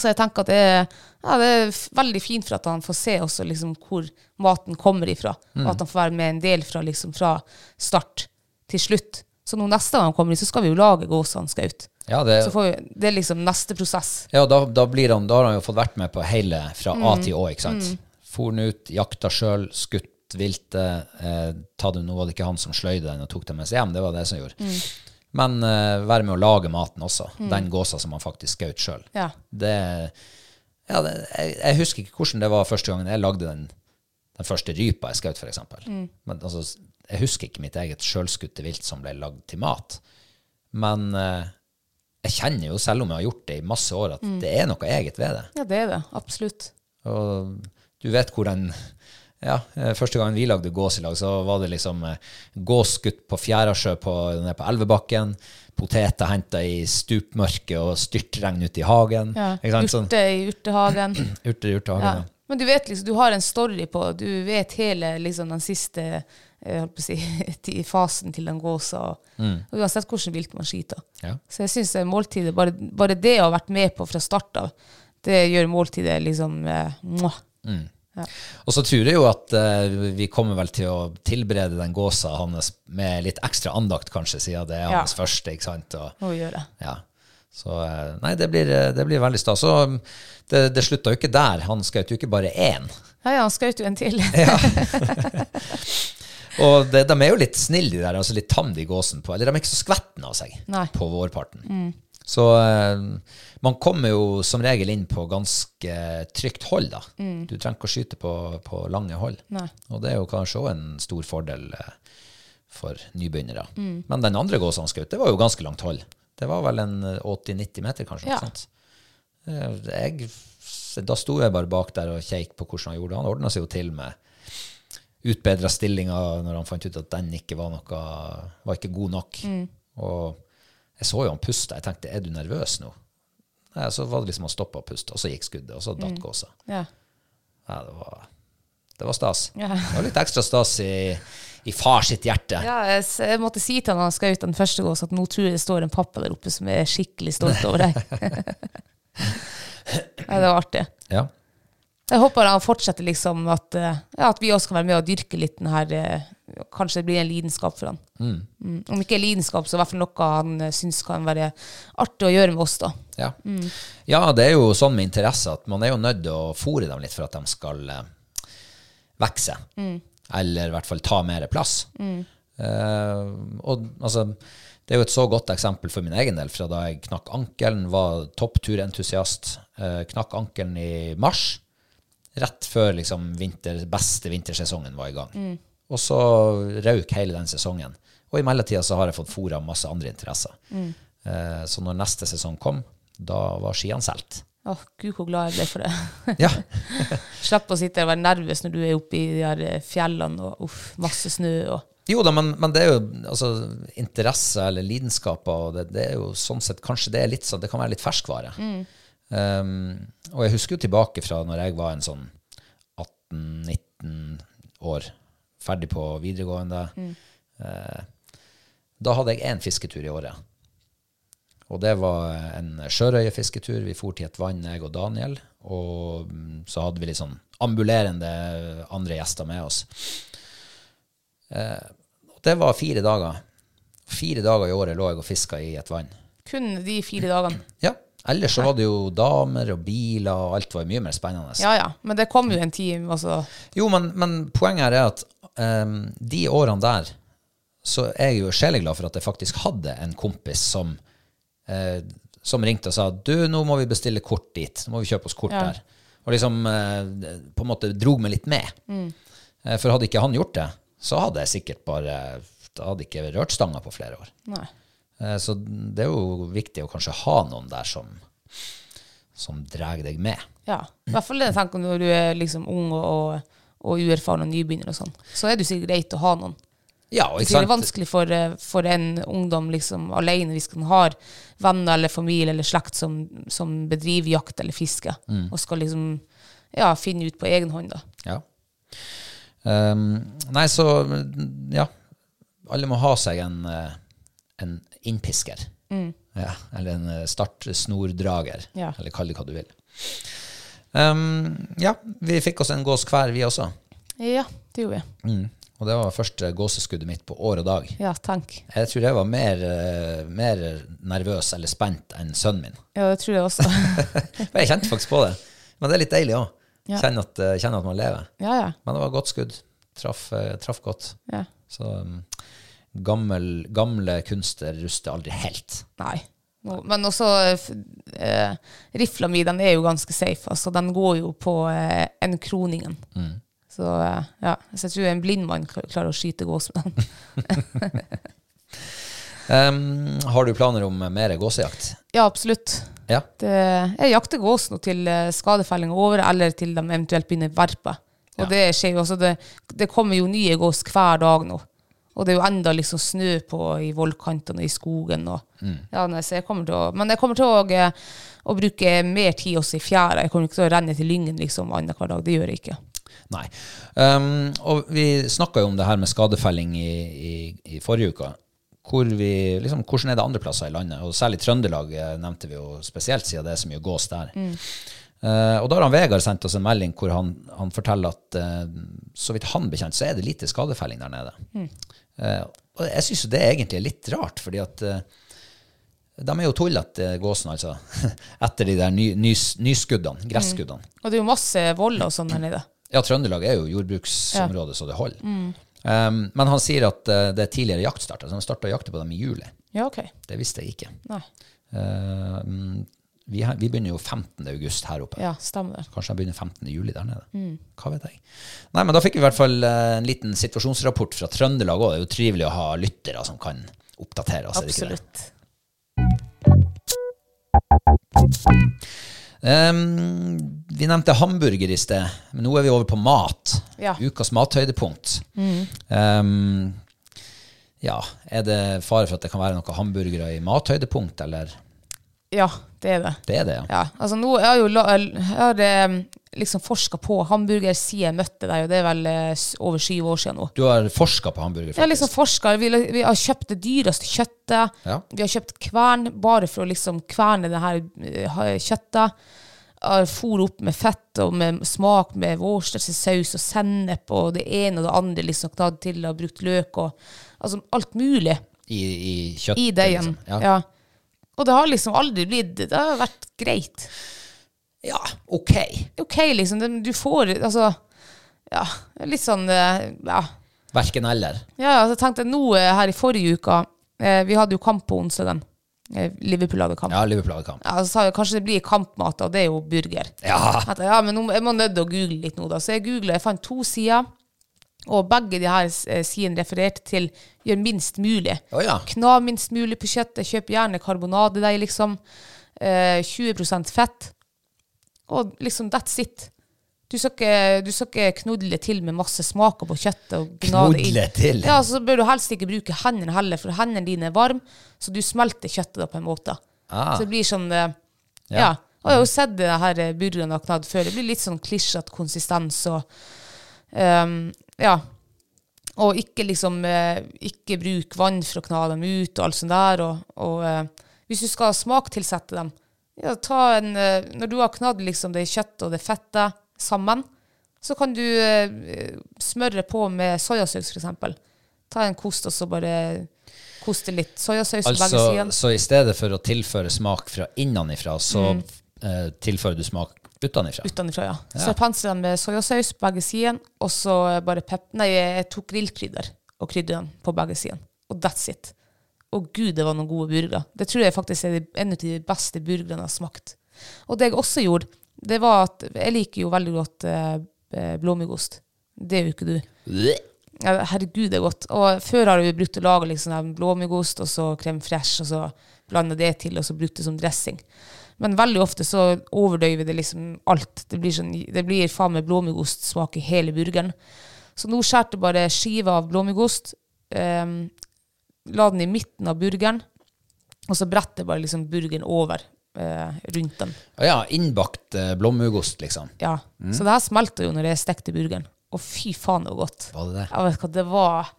S2: Så jeg tenker at det, er- ja, det er f- veldig fint for at han får se også liksom hvor maten kommer ifra.
S1: Mm.
S2: Og at han får være med en del fra, liksom, fra start til slutt. Så nå neste gang han kommer hit, så skal vi jo lage gåsehandskeut.
S1: Ja, det,
S2: Så får vi, det er liksom neste prosess.
S1: ja da, da, blir han, da har han jo fått vært med på hele fra A til Å, ikke sant. For han ut, jakta sjøl, skutt viltet. Eh, ta det, nå var det ikke han som sløyde den og tok den med seg hjem, det var det som gjorde. Men eh, være med å lage maten også. Den gåsa som han faktisk skjøt sjøl.
S2: Ja.
S1: Det, ja, det, jeg, jeg husker ikke hvordan det var første gangen jeg lagde den, den første rypa jeg skjøt, f.eks. Mm. Altså, jeg husker ikke mitt eget sjølskutte vilt som ble lagd til mat. Men eh, jeg kjenner jo, selv om jeg har gjort det i masse år, at det er noe eget ved det.
S2: ja, det er det. Absolutt.
S1: Og du vet hvordan ja, eh, Første gangen vi lagde gås i lag, så var det liksom eh, gås skutt på Fjærasjø på, nede på elvebakken. Poteter henta i stupmørket og styrtregn ute i hagen.
S2: Ja.
S1: Ikke sant? Sånn,
S2: Urte i urtehagen.
S1: urter i urtehagen.
S2: Ja.
S1: Ja.
S2: Men du vet liksom, du har en story på, du vet hele liksom, den siste eh, jeg holdt på å si, ti- fasen til den gåsa, og, og uansett hvordan vilt man skyter.
S1: Ja.
S2: Så jeg syns måltidet, bare, bare det å ha vært med på fra start av, det gjør måltidet liksom eh, mwah.
S1: Og så tror jeg jo at eh, vi kommer vel til å tilberede den gåsa hans med litt ekstra andakt, kanskje, siden det er
S2: Ja.
S1: hans første. ikke sant? Og,
S2: å gjøre.
S1: ja. Så eh, nei, det blir, eh, det blir veldig stas. Og mm, det, det slutta jo ikke der. Han skjøt jo ikke bare én.
S2: Ja, ja, han skjøt jo en til.
S1: Og det, de er jo litt snille, de der, altså litt tam de gåsen på. Eller de er ikke så skvetten av seg
S2: Nei. Mm.
S1: på vårparten. Så eh, man kommer jo som regel inn på ganske trygt hold, da.
S2: Mm.
S1: Du trenger ikke å skyte på, på lange hold.
S2: Nei.
S1: Og det er jo kanskje òg en stor fordel eh, for nybegynnere. Men den andre gåsa han skjøt, det var jo ganske langt hold. Det var vel en eh, 80-90 meter, kanskje.
S2: Ja.
S1: Noe sånt. Eh, Jeg, da sto jeg bare bak der og kjekk på hvordan han gjorde det. Han ordna seg jo til med utbedra stillinga når han fant ut at den ikke var noe var ikke god nok. Og jeg så jo han puste. Jeg tenkte, er du nervøs nå? Nei, så var det liksom han stoppa å puste, og så gikk skuddet, og så datt gåsa.
S2: Ja.
S1: Ja, det var, det var stas.
S2: Ja.
S1: Det var litt ekstra stas i, i far sitt hjerte.
S2: Ja, jeg, s- jeg måtte si til han han skjøt den første gåsa, at nå tror jeg det står en pappa der oppe som er skikkelig stolt over deg. ja, det var artig.
S1: Ja.
S2: Jeg håper han fortsetter liksom at, eh, ja, at vi også kan være med og dyrke litt den her eh, Kanskje det blir en lidenskap for han. Mm. Om ikke lidenskap, så i hvert fall noe han eh, syns kan være artig å gjøre med oss, da.
S1: Ja. ja, det er jo sånn med interesse at man er jo nødt til å fôre dem litt for at de skal eh, vokse. Eller i hvert fall ta mer plass. Eh, og altså, det er jo et så godt eksempel for min egen del fra da jeg knakk ankelen, var toppturentusiast. Eh, knakk ankelen i mars, rett før liksom vinter, beste vintersesongen var i gang. Og så røyk hele den sesongen. Og i mellomtida så har jeg fått fôra masse andre interesser. Eh, så når neste sesong kom, da var skiene solgt.
S2: Åh, Gud, hvor glad jeg ble for det.
S1: Ja.
S2: Slipp å sitte og være nervøs når du er oppe i de her eh, fjellene og uff, masse snø og
S1: Jo da, men, men det er jo altså, interesse eller lidenskaper, og det, det er jo sånn sett kanskje det er litt sånn, det kan være litt ferskvare. Um, og jeg husker jo tilbake fra når jeg var en sånn 18-19 år, ferdig på videregående. Eh, da hadde jeg én fisketur i året. Og det var en sjørøyefisketur. Vi for til et vann, jeg og Daniel. Og mm, så hadde vi litt sånn ambulerende andre gjester med oss. Og det var fire dager. Fire dager i året lå jeg og fiska i et vann.
S2: Kun de fire dagene.
S1: Ja. Ellers så var det jo damer og biler, og alt var mye mer spennende.
S2: Ja ja. Men det kom jo en tid, altså.
S1: Jo, men, men poenget her er at ehm, de årene der så er jeg jo sjeleglad for at jeg faktisk hadde en kompis som, eh, som ringte og sa du, nå må vi bestille kort dit, nå må vi kjøpe oss kort
S2: Ja.
S1: der. Og liksom eh, på en måte drog meg litt med.
S2: Mm.
S1: Eh, for hadde ikke han gjort det, så hadde jeg sikkert bare da hadde jeg ikke rørt stanga på flere år.
S2: Nei.
S1: Eh, så det er jo viktig å kanskje ha noen der som, som drar deg med.
S2: Ja. I hvert fall det jeg tenker når du er liksom ung og, og, og uerfaren og nybegynner og sånn. Så er det jo sikkert greit å ha noen.
S1: Ja, og
S2: Det
S1: ikke
S2: er
S1: sant?
S2: vanskelig for, eh, for en ungdom liksom, alene hvis han har venner eller familie eller slekt som, som bedriver jakt eller fiske,
S1: Mm.
S2: og skal liksom ja, finne ut på egen hånd. Da.
S1: Ja. Ehm, nei, så ja. Alle må ha seg en, eh, en innpisker. Ja, eller en eh, startsnordrager,
S2: Ja.
S1: eller kall det hva du vil. Ehm, ja, vi fikk oss en gås hver, vi også.
S2: Ja, det gjorde jeg.
S1: Mm. Og det var første gåseskuddet mitt på år og dag.
S2: Ja, tenk.
S1: Jeg tror jeg var mer, eh, mer nervøs eller spent enn sønnen min.
S2: Ja, det tror jeg også.
S1: For jeg kjente faktisk på det. Men det er litt deilig òg.
S2: Ja.
S1: Kjenne, at, eh, kjenne at man lever.
S2: ja, ja.
S1: Men det var godt skudd. Traff, eh, traff godt.
S2: ja.
S1: Så um, gammel, gamle kunster ruster aldri helt.
S2: Nei. Nå- Men også eh, f- eh, rifla mi, den er jo ganske safe. Altså, den går jo på eh, en kroningen.
S1: Mm.
S2: Så eh, ja, så jeg tror en blind mann kl- klarer å skyte gås med den.
S1: Um, har du planer om mer gåsejakt?
S2: Ja, absolutt.
S1: Ja.
S2: Det, eh, jeg jakter gås nå til eh, skadefelling er over, eller til de eventuelt begynner verpe. Og
S1: Ja.
S2: det skjer jo også. Det, det kommer jo nye gås hver dag nå. Og det er jo enda liksom snø på i vollkantene og i skogen. Og,
S1: Mm.
S2: ja, nei, så jeg kommer til å, men jeg kommer til å, eh, å bruke mer tid også i fjæra. Jeg kommer ikke til å renne til Lyngen liksom annenhver dag. Det gjør jeg ikke.
S1: Nei. Um, og vi snakka jo om det her med skadefelling i, i, i forrige uke. Hvor vi, liksom, hvordan er det andre plasser i landet? Og særlig Trøndelag eh, nevnte vi jo spesielt, siden det er så mye gås der. Eh, og da har han Vegard sendt oss en melding hvor han, han forteller at eh, så vidt han bekjent, så er det lite skadefelling der nede. Eh, og jeg syns jo det egentlig er litt rart, fordi at eh, de er jo tullete, gåsene, altså. Etter de der ny, nys, nyskuddene, gresskuddene.
S2: Og det er jo masse voller og sånn her nede.
S1: Ja, Trøndelag er jo jordbruksområdet så det holder. Um, men han sier at eh, det er tidligere jaktstarter, så han starta å jakte på dem i juli.
S2: Ja, OK.
S1: Det visste jeg ikke.
S2: Nei.
S1: Eh, mm, vi, har- vi begynner jo 15. august her oppe.
S2: Ja, stemmer det.
S1: Kanskje jeg begynner 15. juli der nede. Hva vet jeg. Nei, men da fikk vi i hvert fall eh, en liten situasjonsrapport fra Trøndelag òg. Det er jo trivelig å ha lyttere som kan oppdatere oss. er det ikke det?
S2: Absolutt.
S1: Ehm, vi nevnte hamburger i sted, men nå er vi over på mat.
S2: Ja. Mm.
S1: Ukas mathøydepunkt. Ehm, ja, er det fare for at det kan være noen hamburgere i mathøydepunkt, eller?
S2: Ja, det er det.
S1: Det er det, ja.
S2: Ja, altså nå jeg har jo la- jeg har eh, liksom forska på hamburger siden jeg møtte deg, og det er vel eh, s- over syv år siden nå.
S1: Du har forska på hamburger,
S2: Jeg har
S1: faktisk.
S2: liksom forsket, vi, vi har kjøpt det dyreste kjøttet,
S1: Ja.
S2: vi har kjøpt kvern bare for å liksom kverne det her eh, ha- kjøttet. Jeg For opp med fett og med smak med Worcestersaus og sennep og det ene og det andre. liksom tatt til og brukt løk og altså alt mulig
S1: I, i kjøtt.
S2: i deigen.
S1: liksom. Ja.
S2: Ja. Og det har liksom aldri blitt Det har vært greit.
S1: ja, ok.
S2: OK, liksom. det- Du får Altså, ja, litt sånn eh, Ja.
S1: Verken eller.
S2: ja altså, jeg tenkte nå eh, her i forrige uke eh, Vi hadde jo kamp på onsdagen. Eh, Liverpool hadde kamp. Ja.
S1: Ja, Liverpool hadde kamp.
S2: så sa jeg kanskje det blir kampmat, og det er jo burger.
S1: Ja.
S2: Jeg tenkte, ja, men nå, jeg må nødt til å google litt nå, da. Så jeg googla, jeg fant to sider. Og begge de her eh, sidene refererte til 'gjør minst mulig'.
S1: Å ja.
S2: Kna minst mulig på kjøttet. Kjøp gjerne karbonadedeig, liksom. Eh, 20 fett. Og liksom that's it. Du skal, ikke, du skal ikke knudle til med masse smaker på kjøttet. Og gna det inn.
S1: Knudle til?
S2: Ja, så bør du helst ikke bruke hendene heller, for hendene dine er varme, så du smelter kjøttet da på en måte.
S1: Ah.
S2: Så det blir sånn eh,
S1: Ja.
S2: Ja. Og jeg har jo sett det her eh, burgerne har knadd før. Det blir litt sånn klisjete konsistens og ehm, Ja. Og ikke liksom eh, Ikke bruk vann for å kna dem ut og alt sånt der. Og, og eh, hvis du skal smaktilsette dem ja, ta en, eh, Når du har knadd liksom det kjøttet og det fettet sammen, så kan du eh, smøre på med soyasaus, f.eks. Ta en kost, og så bare koste litt soyasaus på begge
S1: Altså,
S2: sider.
S1: så i stedet for å tilføre smak fra innenifra, så
S2: Mm.
S1: eh, tilfører du smak utenifra.
S2: Utenfra, ja. Så jeg pansret den med soyasaus på begge sider, og så bare pep... Nei, jeg tok grillkrydder og krydderne på begge sider. Og that's it. Å gud, det var noen gode burgere. Det tror jeg faktisk er de- en av de beste burgerne jeg har smakt. Og det jeg også gjorde, det var at jeg liker jo veldig godt eh, eh, blåmuggost. Det gjør jo ikke du. Ja, Herregud, det er godt. Og før har vi brukt å lage liksom en blåmuggost og så crème fresh, og så blande det til, og så brukt det som dressing. Men veldig ofte så overdøver vi det liksom alt. Det blir, sånn, det blir faen meg blåmuggostsmak i hele burgeren. Så nå skjærte jeg bare skiva av blåmuggost, ehm, la den i midten av burgeren, og så brettet jeg bare liksom burgeren over eh, rundt den.
S1: Å Ja, innbakt eh, blåmuggost, liksom.
S2: Ja. Så det her smelter jo når jeg stekte burgeren. Å, fy faen, det var godt.
S1: Var det det?
S2: Jeg vet hva det var.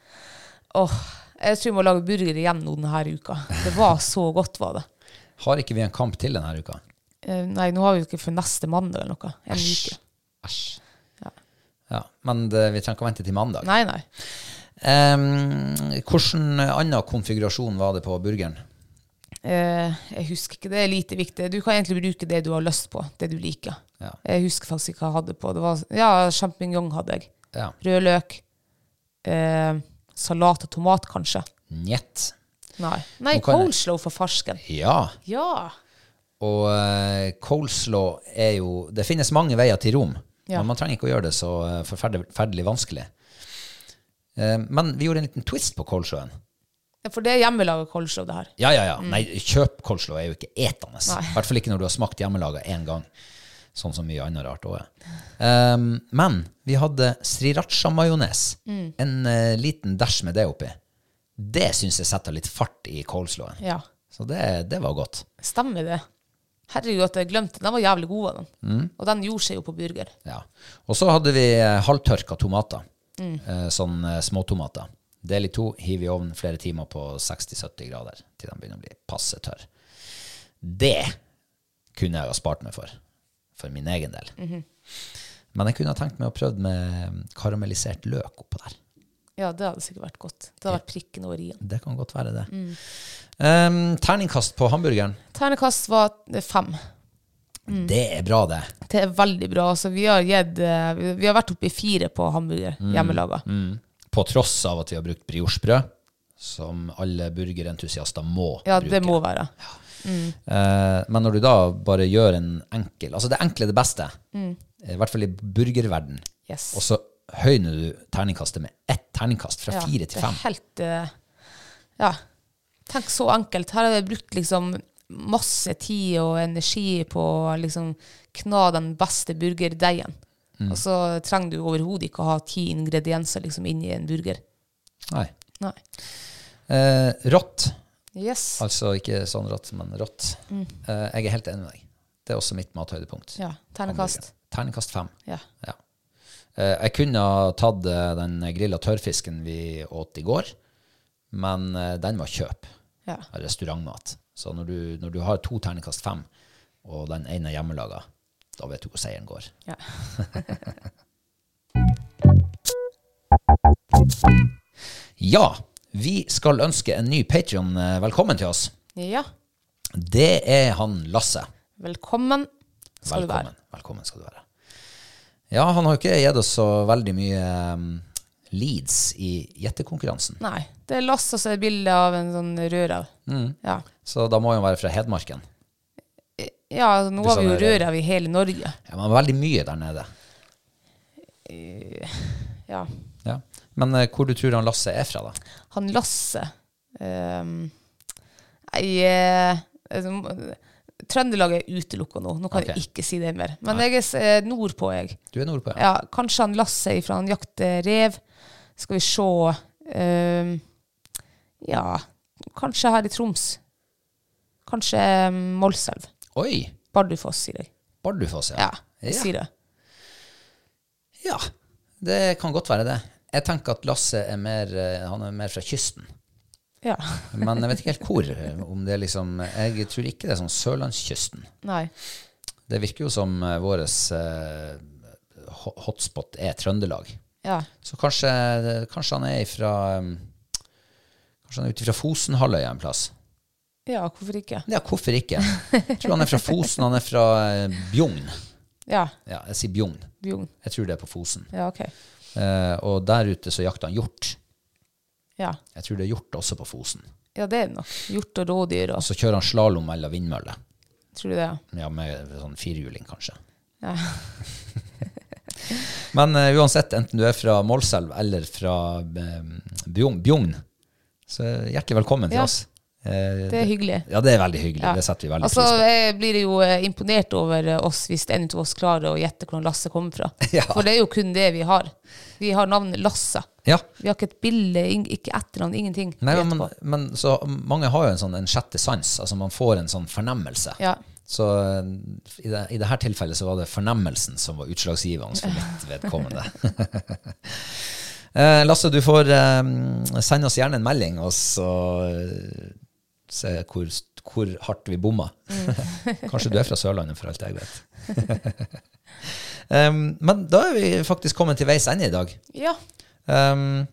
S2: Åh, jeg tror jeg må lage burger igjen nå denne uka. Det var så godt, var det.
S1: Har ikke vi en kamp til denne uka?
S2: Eh, nei, nå har vi jo ikke for neste mandag eller noe. En uke.
S1: Æsj.
S2: Ja.
S1: Ja, men det, vi trenger ikke å vente til mandag.
S2: Nei, nei.
S1: Um, Hvilken annen konfigurasjon var det på burgeren?
S2: Eh, jeg husker ikke, det er lite viktig. Du kan egentlig bruke det du har lyst på, det du liker.
S1: Ja.
S2: Jeg husker faktisk ikke hva jeg hadde på. Det var, ja, champignon hadde jeg.
S1: Ja.
S2: Rød løk. Eh, salat og tomat, kanskje.
S1: Njet.
S2: Nei, nei
S1: Nå kan jeg-
S2: coleslaw for farsken.
S1: Ja.
S2: Ja.
S1: Og eh, coleslaw er jo Det finnes mange veier til Rom,
S2: Ja.
S1: men man trenger ikke å gjøre det så eh, forferdelig forferdelig vanskelig. Eh, men vi gjorde en liten twist på coleslawen.
S2: For det er hjemmelaget coleslaw, det her.
S1: Ja, ja, ja. Nei, kjøp coleslaw er jo ikke etende.
S2: Mm. Nei.
S1: I hvert fall ikke når du har smakt hjemmelaga én gang. Sånn som mye annet rart òg er. Ehm, men vi hadde sriracha-majones.
S2: Mm.
S1: En eh, liten dæsj med det oppi. Det syns jeg setter litt fart i coleslawen.
S2: Ja.
S1: Så det, det var godt.
S2: Stemmer det. Herregud, at jeg glemte. Den var jævlig god, den. Og den gjorde seg jo på burger.
S1: Ja. Og så hadde vi eh, halvtørka tomater. Eh, sånn eh, småtomater. Del i to, hiv i ovnen flere timer på 60-70 grader til de begynner å bli passe tørre. Det kunne jeg jo ha spart meg for, for min egen del. Men jeg kunne ha tenkt meg å prøve med mm, karamellisert løk oppå der.
S2: Ja, det hadde sikkert vært godt. Det hadde vært prikken over i-en.
S1: Det kan godt være det. Em, terningkast på hamburgeren.
S2: Ternekast var eh, fem.
S1: Det er bra, det.
S2: Det er veldig bra. Altså, vi, har gitt, eh, vi vi har vært oppe i fire på hamburger hjemmelaga.
S1: Mm. På tross av at vi har brukt briochebrød, som alle burgerentusiaster må
S2: Ja,
S1: bruke.
S2: det må være.
S1: Eh, men når du da bare gjør en enkel Altså det enkle er det beste,
S2: Mm.
S1: eh, i hvert fall i burgerverden,
S2: Yes.
S1: og så høyner du terningkastet med ett terningkast, fra
S2: Ja,
S1: fire til fem.
S2: Det er helt eh, Ja. Tenk så enkelt. Her har jeg brukt liksom masse tid og energi på å liksom kna den beste burgerdeigen.
S1: Mm.
S2: Og så trenger du overhodet ikke å ha ti ingredienser liksom inni en burger.
S1: Nei.
S2: Nei.
S1: Eh, rått,
S2: Yes.
S1: altså ikke sånn rått, men rått. Eh, jeg er helt enig med deg. Det er også mitt mathøydepunkt.
S2: Mm. Ja. Ternekast.
S1: Hamburger. Terningkast fem.
S2: Ja.
S1: Ja. Eh, jeg kunne ha tatt eh, den grilla tørrfisken vi åt i går, men eh, den var kjøp.
S2: ja.
S1: av restaurantmat. Så når du, når du har to terningkast fem, og den ene er hjemmelaga, da vet du hvor seieren går.
S2: Ja.
S1: Ja, vi skal ønske en ny Patrion velkommen til oss.
S2: ja.
S1: Det er han Lasse.
S2: Velkommen skal du være.
S1: velkommen. Velkommen skal du være. Ja, han har jo ikke gitt oss så veldig mye um, leads i gjettekonkurransen,
S2: Nei. Det er Lasse som er bilde av en sånn rødrev. Ja.
S1: så da må han være fra Hedmarken.
S2: ja, altså, nå
S1: Du
S2: har vi
S1: sa
S2: jo
S1: det er-
S2: rødrev i hele Norge.
S1: Ja, men veldig mye der nede.
S2: Eh, Ja.
S1: Ja. Men eh, hvor du tror han Lasse er fra, da?
S2: han Lasse ehm, Nei eh, altså, Trøndelag er utelukka nå. Nå kan
S1: Ok.
S2: jeg ikke si det mer. Men jeg er s- eh, nordpå, jeg.
S1: Du er nordpå, ja?
S2: Ja, kanskje han Lasse ifra Han jakter rev. Skal vi se ehm, Ja, kanskje her i Troms. Kanskje eh, Målselv.
S1: Oi!
S2: Bardufoss, sier jeg.
S1: Bardufoss,
S2: Ja, jeg
S1: Ja.
S2: sier det.
S1: Ja, det kan godt være det. Jeg tenker at Lasse er mer, eh, han er mer fra kysten.
S2: Ja.
S1: Men jeg vet ikke helt hvor. eh, om det er liksom, Jeg tror ikke det er sånn sørlandskysten.
S2: Nei.
S1: Det virker jo som eh, våres eh, ho- hotspot er Trøndelag. eh,
S2: Ja.
S1: Så kanskje, kanskje han er fra eh, Kanskje han er ute fra Fosenhalvøya en plass?
S2: Ja, hvorfor ikke?
S1: Ja, hvorfor ikke? Jeg tror han er fra Fosen, han er fra eh, Bjugn.
S2: Ja,
S1: Ja, jeg sier Bjugn.
S2: Bjugn.
S1: Jeg tror det er på Fosen.
S2: Ja, ok.
S1: Eh, og der ute så jakter han hjort.
S2: Ja.
S1: Jeg tror det er hjort også på Fosen.
S2: ja, det er det nok. Hjort og rådyr
S1: Og
S2: og
S1: så kjører han slalåm mellom vindmøller.
S2: Tror du det?
S1: Ja, med sånn firhjuling, kanskje.
S2: Ja.
S1: Men eh, uansett, enten du er fra Målselv eller fra eh, Bjugn, Bjugn, så hjertelig velkommen til
S2: Ja.
S1: oss. Eh,
S2: Det er hyggelig.
S1: ja, det er veldig hyggelig.
S2: Ja.
S1: Det setter vi veldig
S2: Altså,
S1: pris på.
S2: jeg blir jo eh, imponert over eh, oss hvis en av oss klarer å gjette hvor Lasse kommer fra.
S1: Ja.
S2: For det er jo kun det vi har. Vi har navnet Lasse.
S1: Ja.
S2: Vi har ikke et bilde, ing- ikke etternavn, ingenting.
S1: Nei,
S2: Vi
S1: men,
S2: vet på.
S1: men så mange har jo en sånn en sjette sans. Altså man får en sånn fornemmelse.
S2: ja.
S1: Så eh, i det, i det her tilfellet så var det fornemmelsen som var utslagsgivende for mitt vedkommende. Eh, Lasse, du får eh, sende oss gjerne en melding, og så eh, se hvor, st- hvor hardt vi bomma. Kanskje du er fra Sørlandet, for alt jeg vet. Em, men da er vi faktisk kommet til veis ende i dag.
S2: ja.
S1: Um,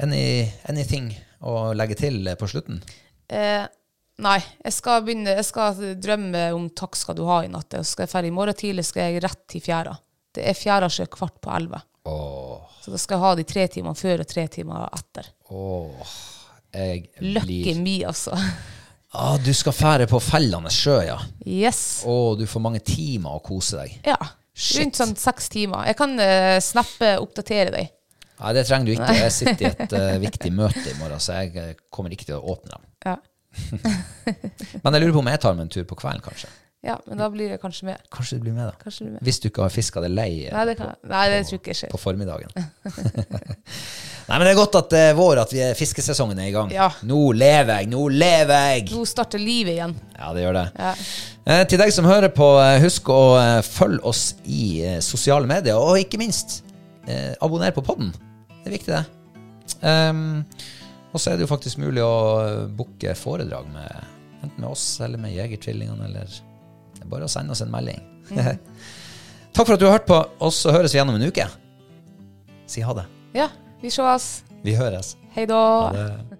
S1: any, anything å legge til eh, på slutten?
S2: Eh, nei, jeg skal begynne Jeg skal drømme om takk skal du ha i natt. Jeg skal ferdig i morgen tidlig, skal jeg rett til fjæra. Det er fjæra sjø kvart på elleve.
S1: Åh,
S2: Så da skal jeg ha de tre timene før og tre timer etter.
S1: åh jeg
S2: Lucky
S1: blir
S2: me, altså.
S1: ah, Du skal fære på fellende sjø, ja.
S2: Yes.
S1: Åh, du får mange timer å kose deg.
S2: Ja.
S1: Shit.
S2: Rundt sånn seks timer. Jeg kan eh, snappe oppdatere deg.
S1: Nei, det trenger du ikke. Jeg sitter i et eh, viktig møte i morgen, så jeg eh, kommer ikke til å åpne dem.
S2: Ja.
S1: Men jeg lurer på om jeg tar meg en tur på kvelden, kanskje.
S2: ja, men da blir det kanskje mer.
S1: Kanskje du blir med, da.
S2: Kanskje det blir mer.
S1: Hvis du ikke har fiska deg lei eh,
S2: Nei, det, kan, nei, det tror jeg ikke skjer.
S1: på formiddagen. Nei, men det er godt at det er vår, at vi er, fiskesesongen er i gang.
S2: Ja.
S1: Nå lever jeg, nå lever jeg!
S2: Nå starter livet igjen.
S1: Ja, det gjør det.
S2: Ja.
S1: Eh, til deg som hører på, eh, husk å eh, følge oss i eh, sosiale medier, og ikke minst eh, abonner på podden. Det er viktig, det. Ehm, og så er det jo faktisk mulig å eh, booke foredrag med enten med oss eller med Jegertvillingene, eller det er bare å sende oss en melding. Mm. Takk for at du har hørt på, og så høres vi igjen om en uke. Si ha det.
S2: ja. Vi ses.
S1: Vi høres.
S2: Hei da.
S1: Ha det.